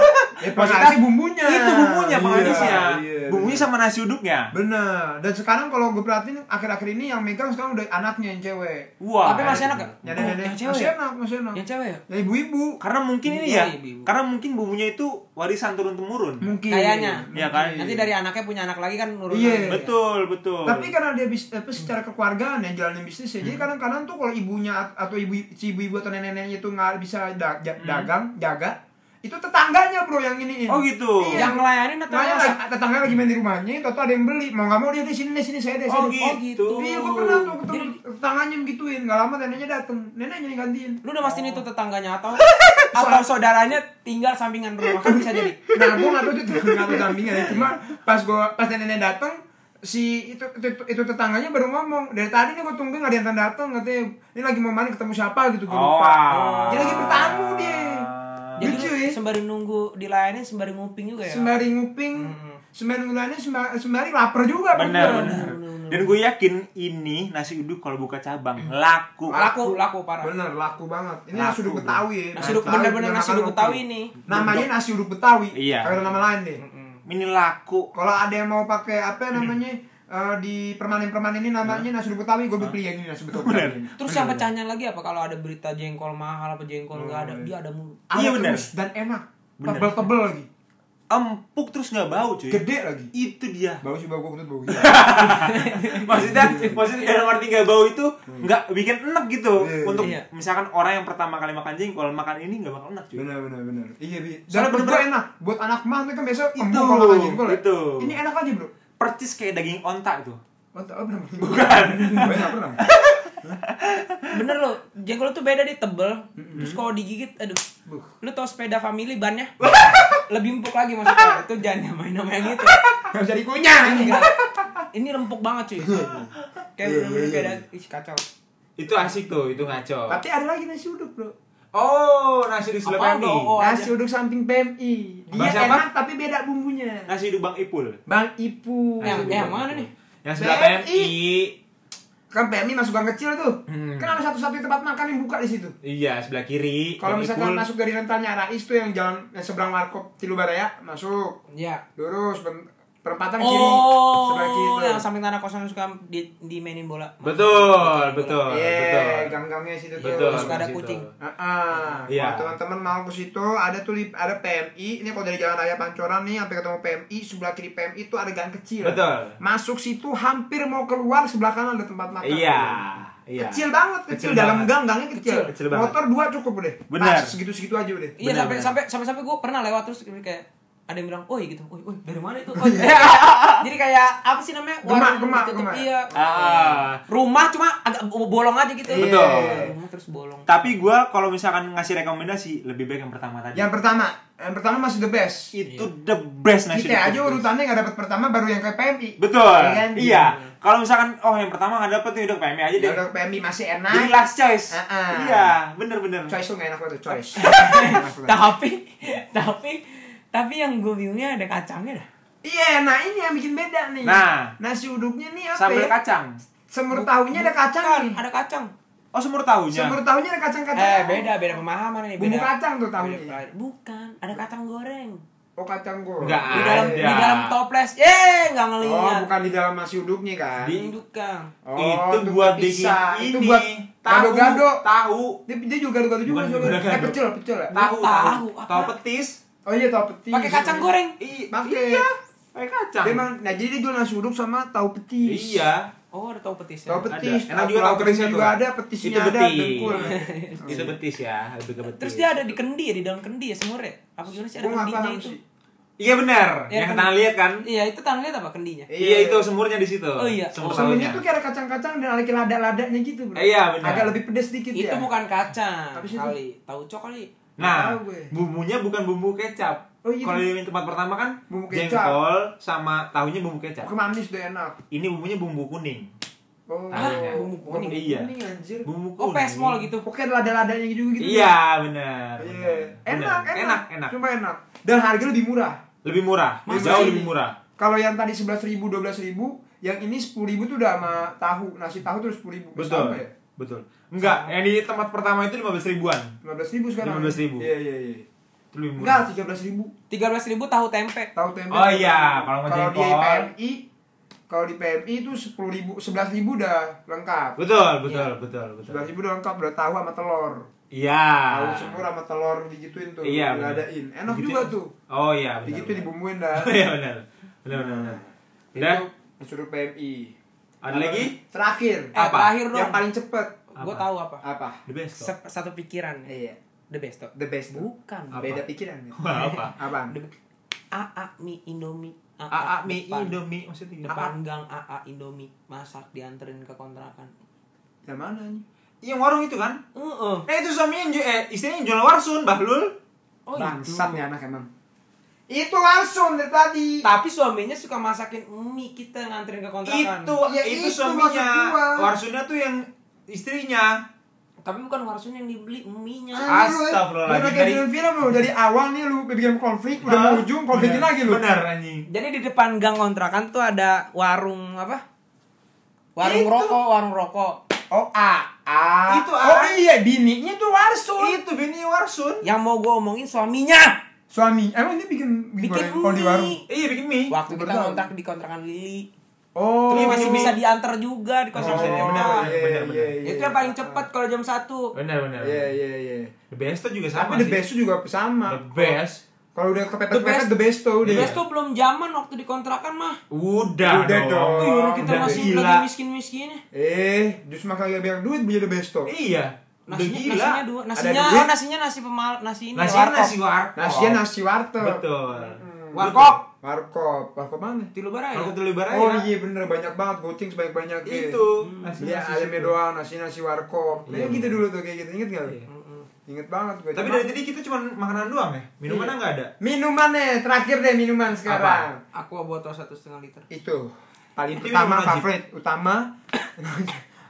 Ya
Maksudnya,
pasti bumbunya.
Itu bumbunya penglarisnya.
Iya, iya,
bumbunya
bener.
sama nasi uduknya.
Bener. Dan sekarang kalau gue perhatiin akhir-akhir ini yang megang sekarang udah anaknya yang cewek.
Wah.
Tapi masih enak gak?
Nenek-nenek
Oh, Yang cewek
masih
ya?
enak, masih enak.
Yang cewek ya?
Ya ibu-ibu
Karena mungkin ini
Bumbu,
ya.
ibu-ibu.
Karena mungkin bumbunya itu warisan turun temurun.
mungkin.
Kayaknya.
Iya kan?
Mungkin.
Nanti dari anaknya punya anak lagi kan nurun.
Iya.
lagi.
Betul, betul.
Tapi kan karena dia bis, apa, secara kekeluargaan ya jalanin bisnis ya. Jadi
Hmm.
kadang-kadang tuh kalau ibunya at- atau ibu si ibu-ibu atau nenek-neneknya tuh nggak bisa da- ja- dagang, jaga, itu tetangganya bro yang ini
Hmm. Oh gitu.
Iya.
Yang ngelayanin atau
Makanya
yang
lagi- tetangga lagi main di rumahnya, toto ada yang beli. Mau nggak mau dia di sini, di sini saya deh.
Oh,
sini.
gitu.
Iya, gua pernah tuh ketemu
Jadi-
tetangganya begituin. Nggak lama neneknya dateng, neneknya yang gantiin.
Lu udah pastiin itu tetangganya atau atau saudaranya tinggal sampingan rumah kan bisa jadi.
Nah, gua nggak tahu itu nggak tahu sampingan ya. Cuma pas gua pas nenek dateng, si itu, itu, itu, itu tetangganya baru ngomong dari tadi nih gua tungguin nggak ada yang datang katanya ini lagi mau main ketemu siapa gitu gua lupa
ah.
dia lagi bertamu dia
Jadi
lucu
lu
ya
sembari nunggu dilayani sembari nguping juga ya.
sembari nguping sembari ngulangnya sembari, sembari lapar juga
Benar,
bener.
benar. Dan gue yakin ini nasi uduk kalau buka cabang laku.
Laku laku parah.
Bener, laku banget. Ini
Laku,
nasi uduk
bro.
Betawi ya.
Nasi uduk bener-bener
Betawi,
nasi
makan
uduk
oke.
Betawi nih.
Namanya nasi uduk Betawi.
Iya.
Kagak ada nama lain deh.
Ini laku.
Kalau ada yang mau pakai apa namanya
Hmm.
eh, di permanen-permanen ini namanya
Nah.
nasi uduk Betawi, gue beli yang ini nasi uduk Betawi. ini.
Terus yang pecahnya lagi apa kalau ada berita jengkol mahal apa jengkol enggak ada, dia ada mulu.
Iya,
Ada
bener.
terus Dan enak.
Bener. Iya.
Tebel-tebel lagi.
Empuk terus nggak bau cuy.
Gede lagi.
Itu dia.
<laughs> Bau sih bau gue kentut
<laughs>
bau.
maksudnya maksudnya dalam arti nggak bau itu nggak bikin enak gitu
Iya, iya.
untuk
Iya.
misalkan orang yang pertama kali makan jengkol makan ini nggak bakal enak cuy
Bener bener bener. Iya bi.
Soalnya
Dan bener
bener-bener-
enak. Buat anak mah itu kan biasa
Itu,
empuk kalau makan jengkol. ya.
itu.
Ini enak aja bro.
percis kayak daging onta itu
Oh, tak- oh, pernah. Bukan. Gue nggak pernah.
Bener loh, jengkol tuh beda di tebel. Terus kalau digigit aduh.
<laughs>
Buh.
Lu tau sepeda family bannya? Lebih empuk lagi maksudnya. Itu jangan nyamain sama yang itu.
Gak bisa dikunyah.
Enggak. Ini rempuk banget cuy. Kayak bener-bener kayak ada- ih kacau.
itu asik tuh itu ngaco
Tapi ada lagi nasi uduk bro.
oh nasi uduk
Apaan
Suleimani
tuh? Oh, ada.
Nasi uduk samping PMI. Dia
Bahasa
enak
apa? Nah.
tapi beda bumbunya.
nasi uduk bang ipul
Bang Ipu.
Yang-
Nasi
yang
uduk Bang
mana
Ipul.
nih?
yang sebelah
BMI.
PMI
Kan PMI masuk gang kecil tuh.
Hmm.
Kan ada satu-satu tempat makan yang buka di situ.
iya sebelah kiri
Kalau
Bang
misalkan
Ipul.
masuk dari rentalnya Rais tuh yang jalan yang seberang warkop Tilubaraya masuk.
Ya.
Lurus ben- perempatan kiri
Oh,
sebelah kiri. tuh.
yang samping tanah kosong suka di, dimainin bola.
betul betul betul
Iya, gang-gangnya situ tuh.
betul
Terus ada
Mas itu.
kucing.
Heeh.
Iya.
Kalau teman-teman mau ke situ ada tuh li- ada PMI. Ini kalau dari Jalan Raya Pancoran nih sampai ketemu PMI sebelah kiri PMI itu ada gang kecil.
Betul.
Masuk situ hampir mau keluar sebelah kanan ada tempat makan.
iya iya
Kecil banget,
Kecil
kecil, dalam
banget.
gang, gangnya kecil.
Kecil, kecil banget.
Motor dua cukup udah.
Benar.
Pas segitu-segitu aja udah.
Iya
Benar,
sampai
benar.
sampai sampai sampai gue pernah lewat terus kayak ada yang bilang, oi gitu, oi, oi dari mana itu? Oi. Jadi kayak apa sih namanya?
Gemak,
Warung
gemak,
ditutup,
gemak.
Iya.
Ah.
Rumah cuma agak bolong aja gitu.
Iya.
Betul.
Rumah terus bolong.
tapi gue kalau misalkan ngasih rekomendasi lebih baik yang pertama tadi
Yang pertama, yang pertama masih the best.
itu the best nasi uduk
Kita aja
Iya, the best.
urutannya nggak dapat pertama baru yang ke PMI.
Betul.
Iya kan?
Iya. Kalau misalkan oh yang pertama nggak dapet nih udah ke PMI aja
Ya
deh.
udah ke PMI masih enak.
Jadi last choice.
Heeh.
Iya, bener-bener.
Choice tuh nggak enak banget, tuh, choice. Nggak enak banget.
Tapi <laughs> tapi tapi yang gue bingungnya ada kacangnya dah.
Iya, nah ini yang bikin beda nih.
Nah.
nasi uduknya nih apa?
Sambal
ya?
kacang.
Semur tahunya ada kacang
Bukan,
nih.
ada kacang.
Oh semur tahunya.
Semur tahunya ada kacang-kacang.
Eh, beda, beda pemahaman ini.
Bumbu
beda.
kacang tuh tahunya.
Beda pra- Bukan, ada kacang goreng.
Oh, kacang goreng.
Nggak
Di dalam
Ada.
iya.
di dalam toples. Ye, enggak ngelihat.
Oh, bukan di dalam nasi uduknya kan.
Di-
Bukan.
Oh,
itu
tuh
buat bikin
bisa.
ini.
Itu buat gado-gado.
Tahu.
Dia, dia juga gado-gado juga
Bukan
soalnya. Eh,
gado-gado.
pecel, pecel. ya?
Tahu. Tahu.
Tahu, apa?
Tahu petis.
Oh iya, tahu petis.
Pakai kacang goreng.
Iya.
Pakai.
Iya. Pakai kacang.
Dia emang, nah jadi dia jual nasi uduk sama tahu petis.
Iya.
Oh, ada tahu petis.
Tahu
Ada.
petis.
Enak juga tahu petisnya
juga
tuh.
ada, petisnya
Itu
ada,
betis.
dengkul.
<laughs> Itu betis ya, lebih ke betis.
Terus dia ada di kendi ya, di dalam kendi ya semurnya. Apa gimana sih ada
Gua nggak
kendinya
paham
itu?
sih.
Iya benar.
Iya,
yang
kan?
tanah lihat kan?
Iya, itu tanah liat apa kendinya?
Iya.
Iya, itu semurnya di situ.
Oh, iya.
Semur
Oh.
Sebelumnya
tahunya.
tuh kayak ada kacang-kacang dan ada lada-ladanya gitu, Bro.
Eh, iya, benar.
Agak lebih pedes dikit
itu
ya.
bukan kacang
Habis itu?
kali, tauco kali.
Nah,
Tahu gue.
bumbunya bukan bumbu kecap.
Oh, iya.
Kalau di tempat pertama kan
Bumbu kecap.
jengkol sama tahunya bumbu kecap.
Bukan manis udah enak.
Ini bumbunya bumbu kuning.
Oh,
Ah,
bumbu
bukan
kuning. ya?
Iya.
kuning, anjir.
Bumbu kuning.
Oh, pesmol gitu.
Pokoknya ada lada-ladanya juga gitu.
Iya, benar.
Iya.
benar.
Enak, enak,
enak, enak.
Cuma enak. Dan harga lebih murah.
Lebih murah,
Masa
jauh
sih?
lebih murah.
Kalau yang tadi 11.000, 12.000, yang ini 10.000 tuh udah sama tahu, nasi tahu tuh 10.000.
Betul.
Sama ya?
Betul. Enggak, yang di tempat pertama itu 15 ribuan.
15.000 sekarang.
15.000.
Iya, iya, iya.
Itu lebih murah.
Enggak, 13.000.
13.000 tahu tempe.
Tahu tempe.
Oh iya, kalau mau
Kalau di
jengkol.
PMI, kalau di PMI itu 10.000, 11.000 udah lengkap.
Betul, betul,
Iya.
betul, betul.
11.000 udah lengkap, udah tahu sama telur.
Iya.
Tahu semur sama telur digituin tuh.
Iya, benar.
diladain. Enak
Begitu-
juga tuh.
Oh iya, benar.
Begitu
benar.
dibumbuin dah.
<laughs> Iya, benar. Benar, benar, benar. Udah,
Itu disuruh PMI.
ada lagi?
Terakhir.
Eh,
Apa?
terakhir dong.
Yang paling cepet
Gue
Apa?
tahu apa.
apa?
The best. kok.
Se- Satu pikiran.
Iya.
the best tuh.
The best tuh.
Bukan.
Apa?
Beda pikiran. ya? <laughs>
apa
Apaan?
The- AA mie Indomie.
AA mie
depan.
Indomie maksudnya
Depan gang AA Indomie masak dianterin ke kontrakan.
Yang mana? anjing?
Yang warung itu kan?
Eh, eh.
Nah itu suaminya yang ju- eh istrinya yang jual warsun, Bahlul.
Oh,
Bangsat ya.
itu.
nih anak emang. Itu langsung dari tadi.
Tapi suaminya suka masakin mie kita nganterin ke kontrakan.
Itu,
Ya,
itu,
itu
suaminya.
maksud gua.
Warsunnya tuh yang istrinya.
Tapi bukan warsun yang dibeli mie-nya.
Anjing lu,
Astagfirullahaladzim.
Lu udah kayak
Dari-
film-film lu dari awal nih lu bikin konflik, udah mau ujung konflikin lagi lu.
Benar anjing.
Jadi di depan gang kontrakan tuh ada warung apa? Warung
Itu.
rokok, warung rokok.
Oh, A. A.
Itu A.
Oh iya, bininya tuh
Iya.
warsun.
Itu bini warsun.
Yang mau gue omongin suaminya.
Suami. Emang dia bikin
Bikin
goreng kol di warung.
mie.
Iya bikin mie.
Waktu kita
Berdua.
kontrak di kontrakan Lili.
Oh. Iya,
Tapi masih bisa diantar juga di kontrakan
Masih bisa
Lili.
diantar,
Nah,
benar, benar, benar.
Itu yang paling cepat kalau jam 1.
Benar benar.
Iya, iya, iya.
The best tuh juga sama
Tapi the
sih.
best tuh juga
The
sama.
best.
Kalau udah kepepet-kepepet
best.
the best tuh
Terus
udah. ya.
tuh belum zaman waktu di kontrakan mah.
Udah,
Udah dong.
dong.
Oh,
Iya, kita
udah
masih
gila.
lagi miskin-miskinnya.
Eh, justru makan lagi banyak duit beli the best tuh.
Iya. Udah
Nasinya,
gila.
nasinya dua. Nasinya,
duit.
oh, nasinya nasi pemal, nasi ini.
Nasinya
warkop.
nasi warung.
Nasinya nasi warteg.
Betul.
Warkop.
Warkop. Warkop mana?
Di Lebaran
Kalau
ya?
kita lebaran
Oh iya bener banyak banget goceng sebanyak-banyak eh.
Itu.
Nasinya
Iya
nasi
ayamnya
situ.
doang nasi nasi warkop. Kayak gitu dulu tuh kayak gitu inget gak lu?
Iya.
Inget banget gue.
Tapi dari tadi kita cuma makanan doang ya.
Iya.
Minumannya nggak ada.
minumannya terakhir deh minuman sekarang.
Aku botol satu setengah liter.
Itu paling
Itu
utama
minuman wajib.
favorit utama. <coughs>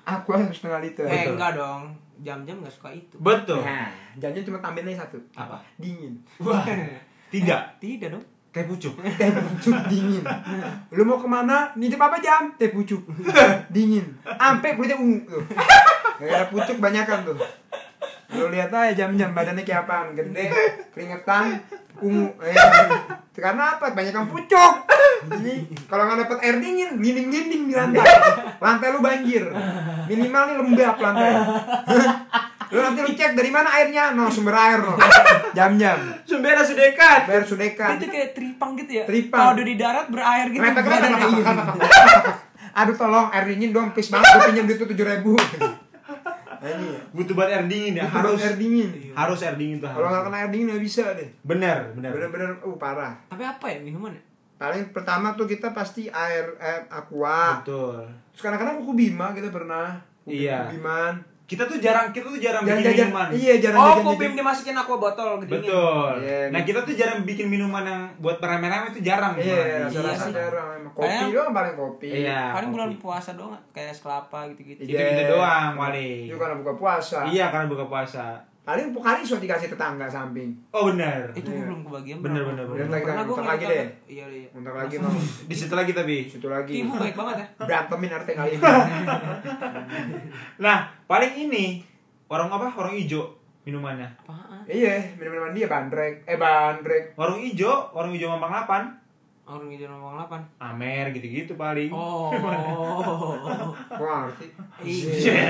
aku harus setengah liter.
Eh
Betul.
enggak dong, jam-jam nggak suka itu.
Betul.
Nah, jangan cuma tambahin aja satu.
Apa?
Dingin. <laughs>
Wah. Tidak.
Tidak dong.
Teh pucuk.
Teh pucuk dingin. Lu mau kemana? Nitip apa jam? Teh pucuk. dingin. Ampe kulitnya ungu tuh. Gara-gara pucuk banyakan tuh. Lu lihat aja jam-jam badannya kayak apaan, gede, keringetan, ungu. Eh, karena apa? Banyakan pucuk. Jadi kalau nggak dapet air dingin, glinding-glinding di lantai. Lantai lu banjir. Minimal nih lembab lantai. lu nanti lu cek dari mana airnya? No, sumber air no. Jam-jam.
Sumbernya sudah dekat.
Bayar sudekan.
Itu kayak tripang gitu ya.
Kan? Tripang.
Kalau udah di darat berair gitu.
Kenapa kenapa
badannya.
kenapa
Iya.
kenapa kan <laughs> Aduh tolong air dingin dong, please banget gue pinjam duit tuh tujuh ribu.
Nah,
Ini
Butuh banget air dingin ya.
harus
Harus
air dingin.
harus air dingin tuh.
Kalau nggak
harus.
kena air dingin nggak bisa deh.
Bener, bener.
Bener-bener, uh parah.
Tapi apa ya minuman ya?
Paling pertama tuh kita pasti air eh, aqua.
Betul.
Terus kadang-kadang kuku bima kita pernah. Kuku
Iya.
Biman.
Kita tuh jarang kita tuh jarang bikin
Jajan-jajan.
minuman.
Iya jarang
Oh,
jajan-jajan.
Kopim dimasukin aqua botol gedingin.
Betul.
Iya,
nah
bi-
kita tuh jarang bikin minuman yang buat rame-rame itu jarang. Bang.
Iya,
iya
rasa-rasa
sih.
jarang emang. Kopi
Kayak-
doang paling kopi.
Iya.
Paling Nah, kan bulan
kopi.
puasa doang kayak es kelapa gitu-gitu.
Iya. Itu-gitu doang paling.
Itu karena buka puasa.
Iya karena buka puasa.
Paling kali suka dikasih tetangga samping.
Oh benar.
Itu gue
Iya.
belum kebagian.
Bener,
berapa.
bener, bener.
Belum
Bentar,
Pernah gue
bentar lagi deh.
Iya, iya.
Untuk lagi mau.
Di situ lagi tapi.
Situ lagi.
Ibu baik banget ya.
berantemin RT kali
<laughs>
ini.
Nah paling ini warung apa? Warung ijo minumannya.
Apaan?
iya, minum-minuman dia bandrek. Eh bandrek.
Warung ijo, warung ijo Mampang 8
Orang hijau nomor 8.
Amer gitu-gitu paling.
Oh.
Gua ngerti.
Iya.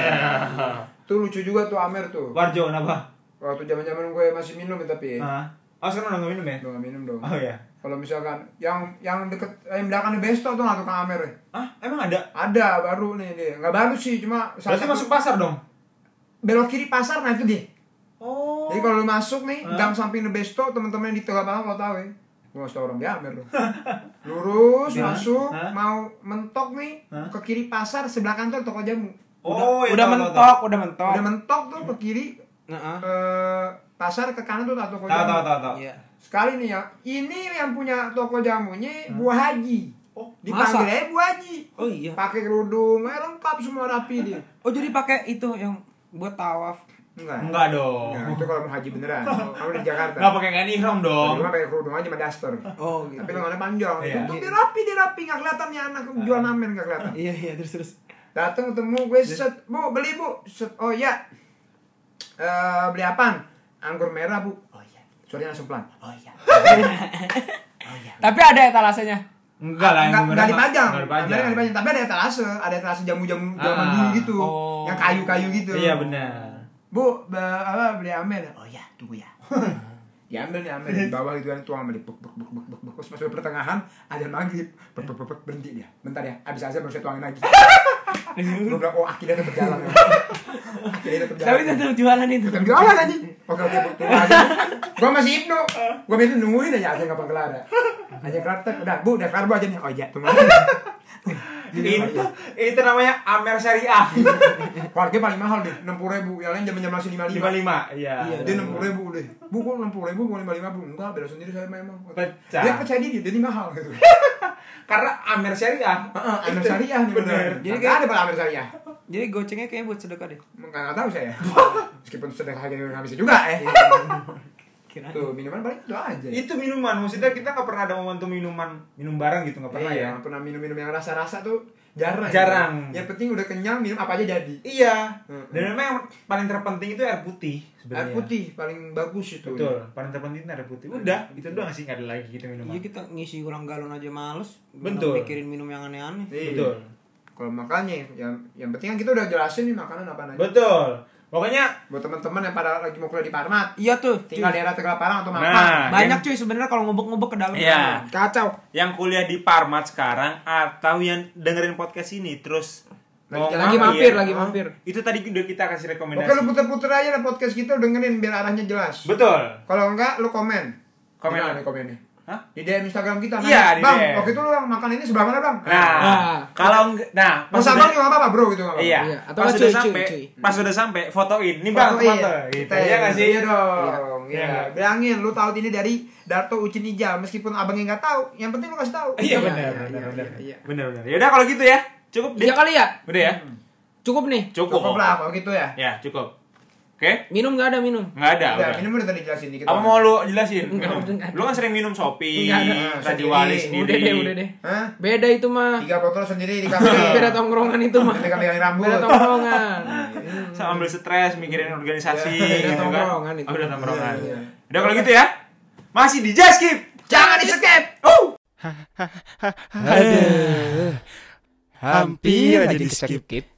Tuh lucu juga tuh Amer tuh.
Warjo kenapa?
Waktu zaman-zaman gue masih minum ya tapi. ya.
Hah? Oh sekarang udah nggak minum ya?
Udah gak minum dong.
Oh ya.
Kalau misalkan yang yang deket eh, yang belakang di Besto tuh nggak tukang Amer ya.
Ah emang ada?
Ada baru nih dia. Nggak baru sih, cuma salah
Berarti
satu-
masuk pasar dong?
belok kiri pasar nah itu dia.
Oh.
Jadi kalau lu masuk nih,
Hah?
gang samping The Besto, teman-teman yang di tengah Malang mau tahu ya. Gua ngasih tau orang di Amer lu. Lurus,
Hah?
masuk,
Hah?
mau mentok nih,
Hah?
ke kiri pasar, sebelah kantor toko jamu.
Oh,
iya,
udah mentok, udah mentok.
Udah mentok tuh ke kiri,
Heeh.
ke pasar, ke kanan tuh ada toko
Tahu
jamu.
tahu tahu tahu.
ah. Iya.
Sekali nih ya, ini yang punya toko jamunya Bu Haji.
Oh,
Dipanggil
masa?
aja Bu Haji.
Oh iya.
Pakai kerudung, eh, lengkap semua rapi dia.
Oh jadi pakai itu yang buat tawaf.
Enggak.
Enggak dong.
Enggak, itu kalau mau haji
<laughs>
beneran. Kalau di Jakarta.
Enggak pakai kain ihram dong.
Cuma pakai kerudung aja sama daster.
Oh
Tapi lengannya panjang.
Iya.
Itu dia rapi, dia rapi nggak kelihatan nih anak jual amen nggak kelihatan.
Iya iya terus terus.
Datang ketemu gue set, bu beli bu, set, oh iya. Eh beli apaan? Anggur merah bu. Oh iya. Suaranya langsung pelan. Oh <laughs> iya.
Tapi ada ya etalasenya.
Enggak lah yang
Nggak,
beneran
nggak
mah-
dipajang.
Nggak
Amernya
dipajang.
nggak dipajang. Tapi ada etalase, ada etalase jamu-jamu zaman
Ah,
dulu gitu,
oh.
yang kayu-kayu gitu.
Iya benar.
Bu, be- apa beli amer? Oh iya, tunggu ya. <laughs> Diambil nih amer di bawah gitu kan tuang amer di buk buk buk buk buk <laughs> buk terus masuk pertengahan ada maghrib buk buk buk, buk, berhenti dia bentar ya abis azan baru saya tuangin lagi Gue bilang, oh akhirnya tetap jalan <laughs> ya. Akhirnya tetap jalan
Tapi tetap jualan itu.
Tetap jualan anjing Oke oke Gue masih Ibnu Gue biasanya nungguin aja Aceh kapan kelar ya Aceh kelar tet, udah bu udah kelar bu aja nih Oh iya tunggu <laughs> Iya,
itu itu namanya Amer Syariah
Harga paling mahal deh, enam puluh ribu. Yang lain zaman-zaman langsung lima lima.
55 iya
Dia enam puluh ribu deh. Bu, kok enam puluh ribu, bukan lima lima bu? Enggak, beda sendiri saya memang.
Pecah.
Dia percaya diri, jadi mahal
<laughs>
gitu.
karena Amer Syariah
Heeh, Amir Syariah nih bener.
Bener.
Jadi kayak ada pada Amir Syariah.
Jadi gocengnya kayaknya buat sedekah deh.
Enggak nggak tahu
<laughs>
saya. Meskipun sedang harga nggak bisa juga eh.
Kira.
Tuh minuman paling itu aja.
Iya. itu minuman maksudnya kita nggak pernah ada momentum minuman minum bareng gitu nggak pernah
Pernah ya,
ya
pernah minum-minum yang rasa-rasa tuh jarang.
Jarang.
Yang penting udah kenyang minum apa aja jadi.
iya
Mm-mm.
dan memang yang paling terpenting itu air putih
Air
sebenarnya
putih Iya. paling bagus itu.
betul paling terpenting itu air putih udah itu doang sih nggak ada lagi kita minuman
Iya kita ngisi kurang galon aja males.
Betul.
Kita Pikirin minum yang aneh-aneh.
Iya.
betul
Kalau makanya yang yang penting kan kita udah jelasin nih makanan apa aja.
betul pokoknya
buat teman-teman yang pada lagi mau kuliah di Parmat
Iya tuh. cuy.
tinggal daerah Tegal Parang atau Mampang
Nah.
Banyak cuy sebenarnya kalau ngubek-ngubek ke dalam.
Iya.
kacau
yang kuliah di Parmat sekarang atau yang dengerin podcast ini terus mau
Lagi- lagi mampir, lagi mampir.
Itu tadi udah kita kasih rekomendasi.
oke lu puter-puter aja lah podcast kita lu dengerin biar arahnya jelas
betul
kalau enggak lu komen
Komen.
Gimana nih komennya
Hah?
di DM Instagram kita
Iya, di
bang
DM.
waktu itu lu yang makan ini sebelah mana bang
Nah,
Nah.
kalau nggak- nah
mau
udah-
sabar nggak apa-apa bro gitu nggak Oh, apa-apa
Iya.
Iya, atau
Atau pas
nggak
udah
cuy, cuy,
sampai,
cuy. ya,
pas udah sampai fotoin. Nih Bang,
Bang,
foto. Gitu. Iya nggak sih?
Iya dong.
Iya.
Iya. Bilangin lu tahu ini dari Darto Ucin Ija meskipun abangnya nggak tahu, yang penting lu kasih tahu.
iya
Iya,
benar
iya,
benar
iya,
benar
iya.
Bener bener. Yaudah kalau gitu ya. Cukup deh.
Iya kali ya.
Udah ya.
Cukup nih.
Cukup.
Cukup lah kalau gitu ya.
Ya, cukup. Oke?
Minum nggak ada minum.
Nggak ada.
Udah,
Iya, udah.
minum udah tadi jelasin dikit.
Apa mau lu jelasin?
Nggak,
Minum.
udah nggak ada.
Lu kan sering minum Shopee,
Nggak ada.
Rajiwali
Sendiri.
sendiri.
Udah deh, udah deh.
Hah?
Beda itu mah.
Tiga botol
<laughs>
sendiri di
Beda
kafe.
tongkrongan itu mah.
Nanti kami yang rambut.
Beda tongkrongan.
<laughs>
Sama ambil stres, mikirin organisasi.
Iya,
gitu kan.
tongkrongan itu.
Oh, udah tongkrongan.
Iya, iya.
Udah kalau gitu ya. Masih di Just Keep.
Jangan di skip.
Oh!
Hampir aja di skip.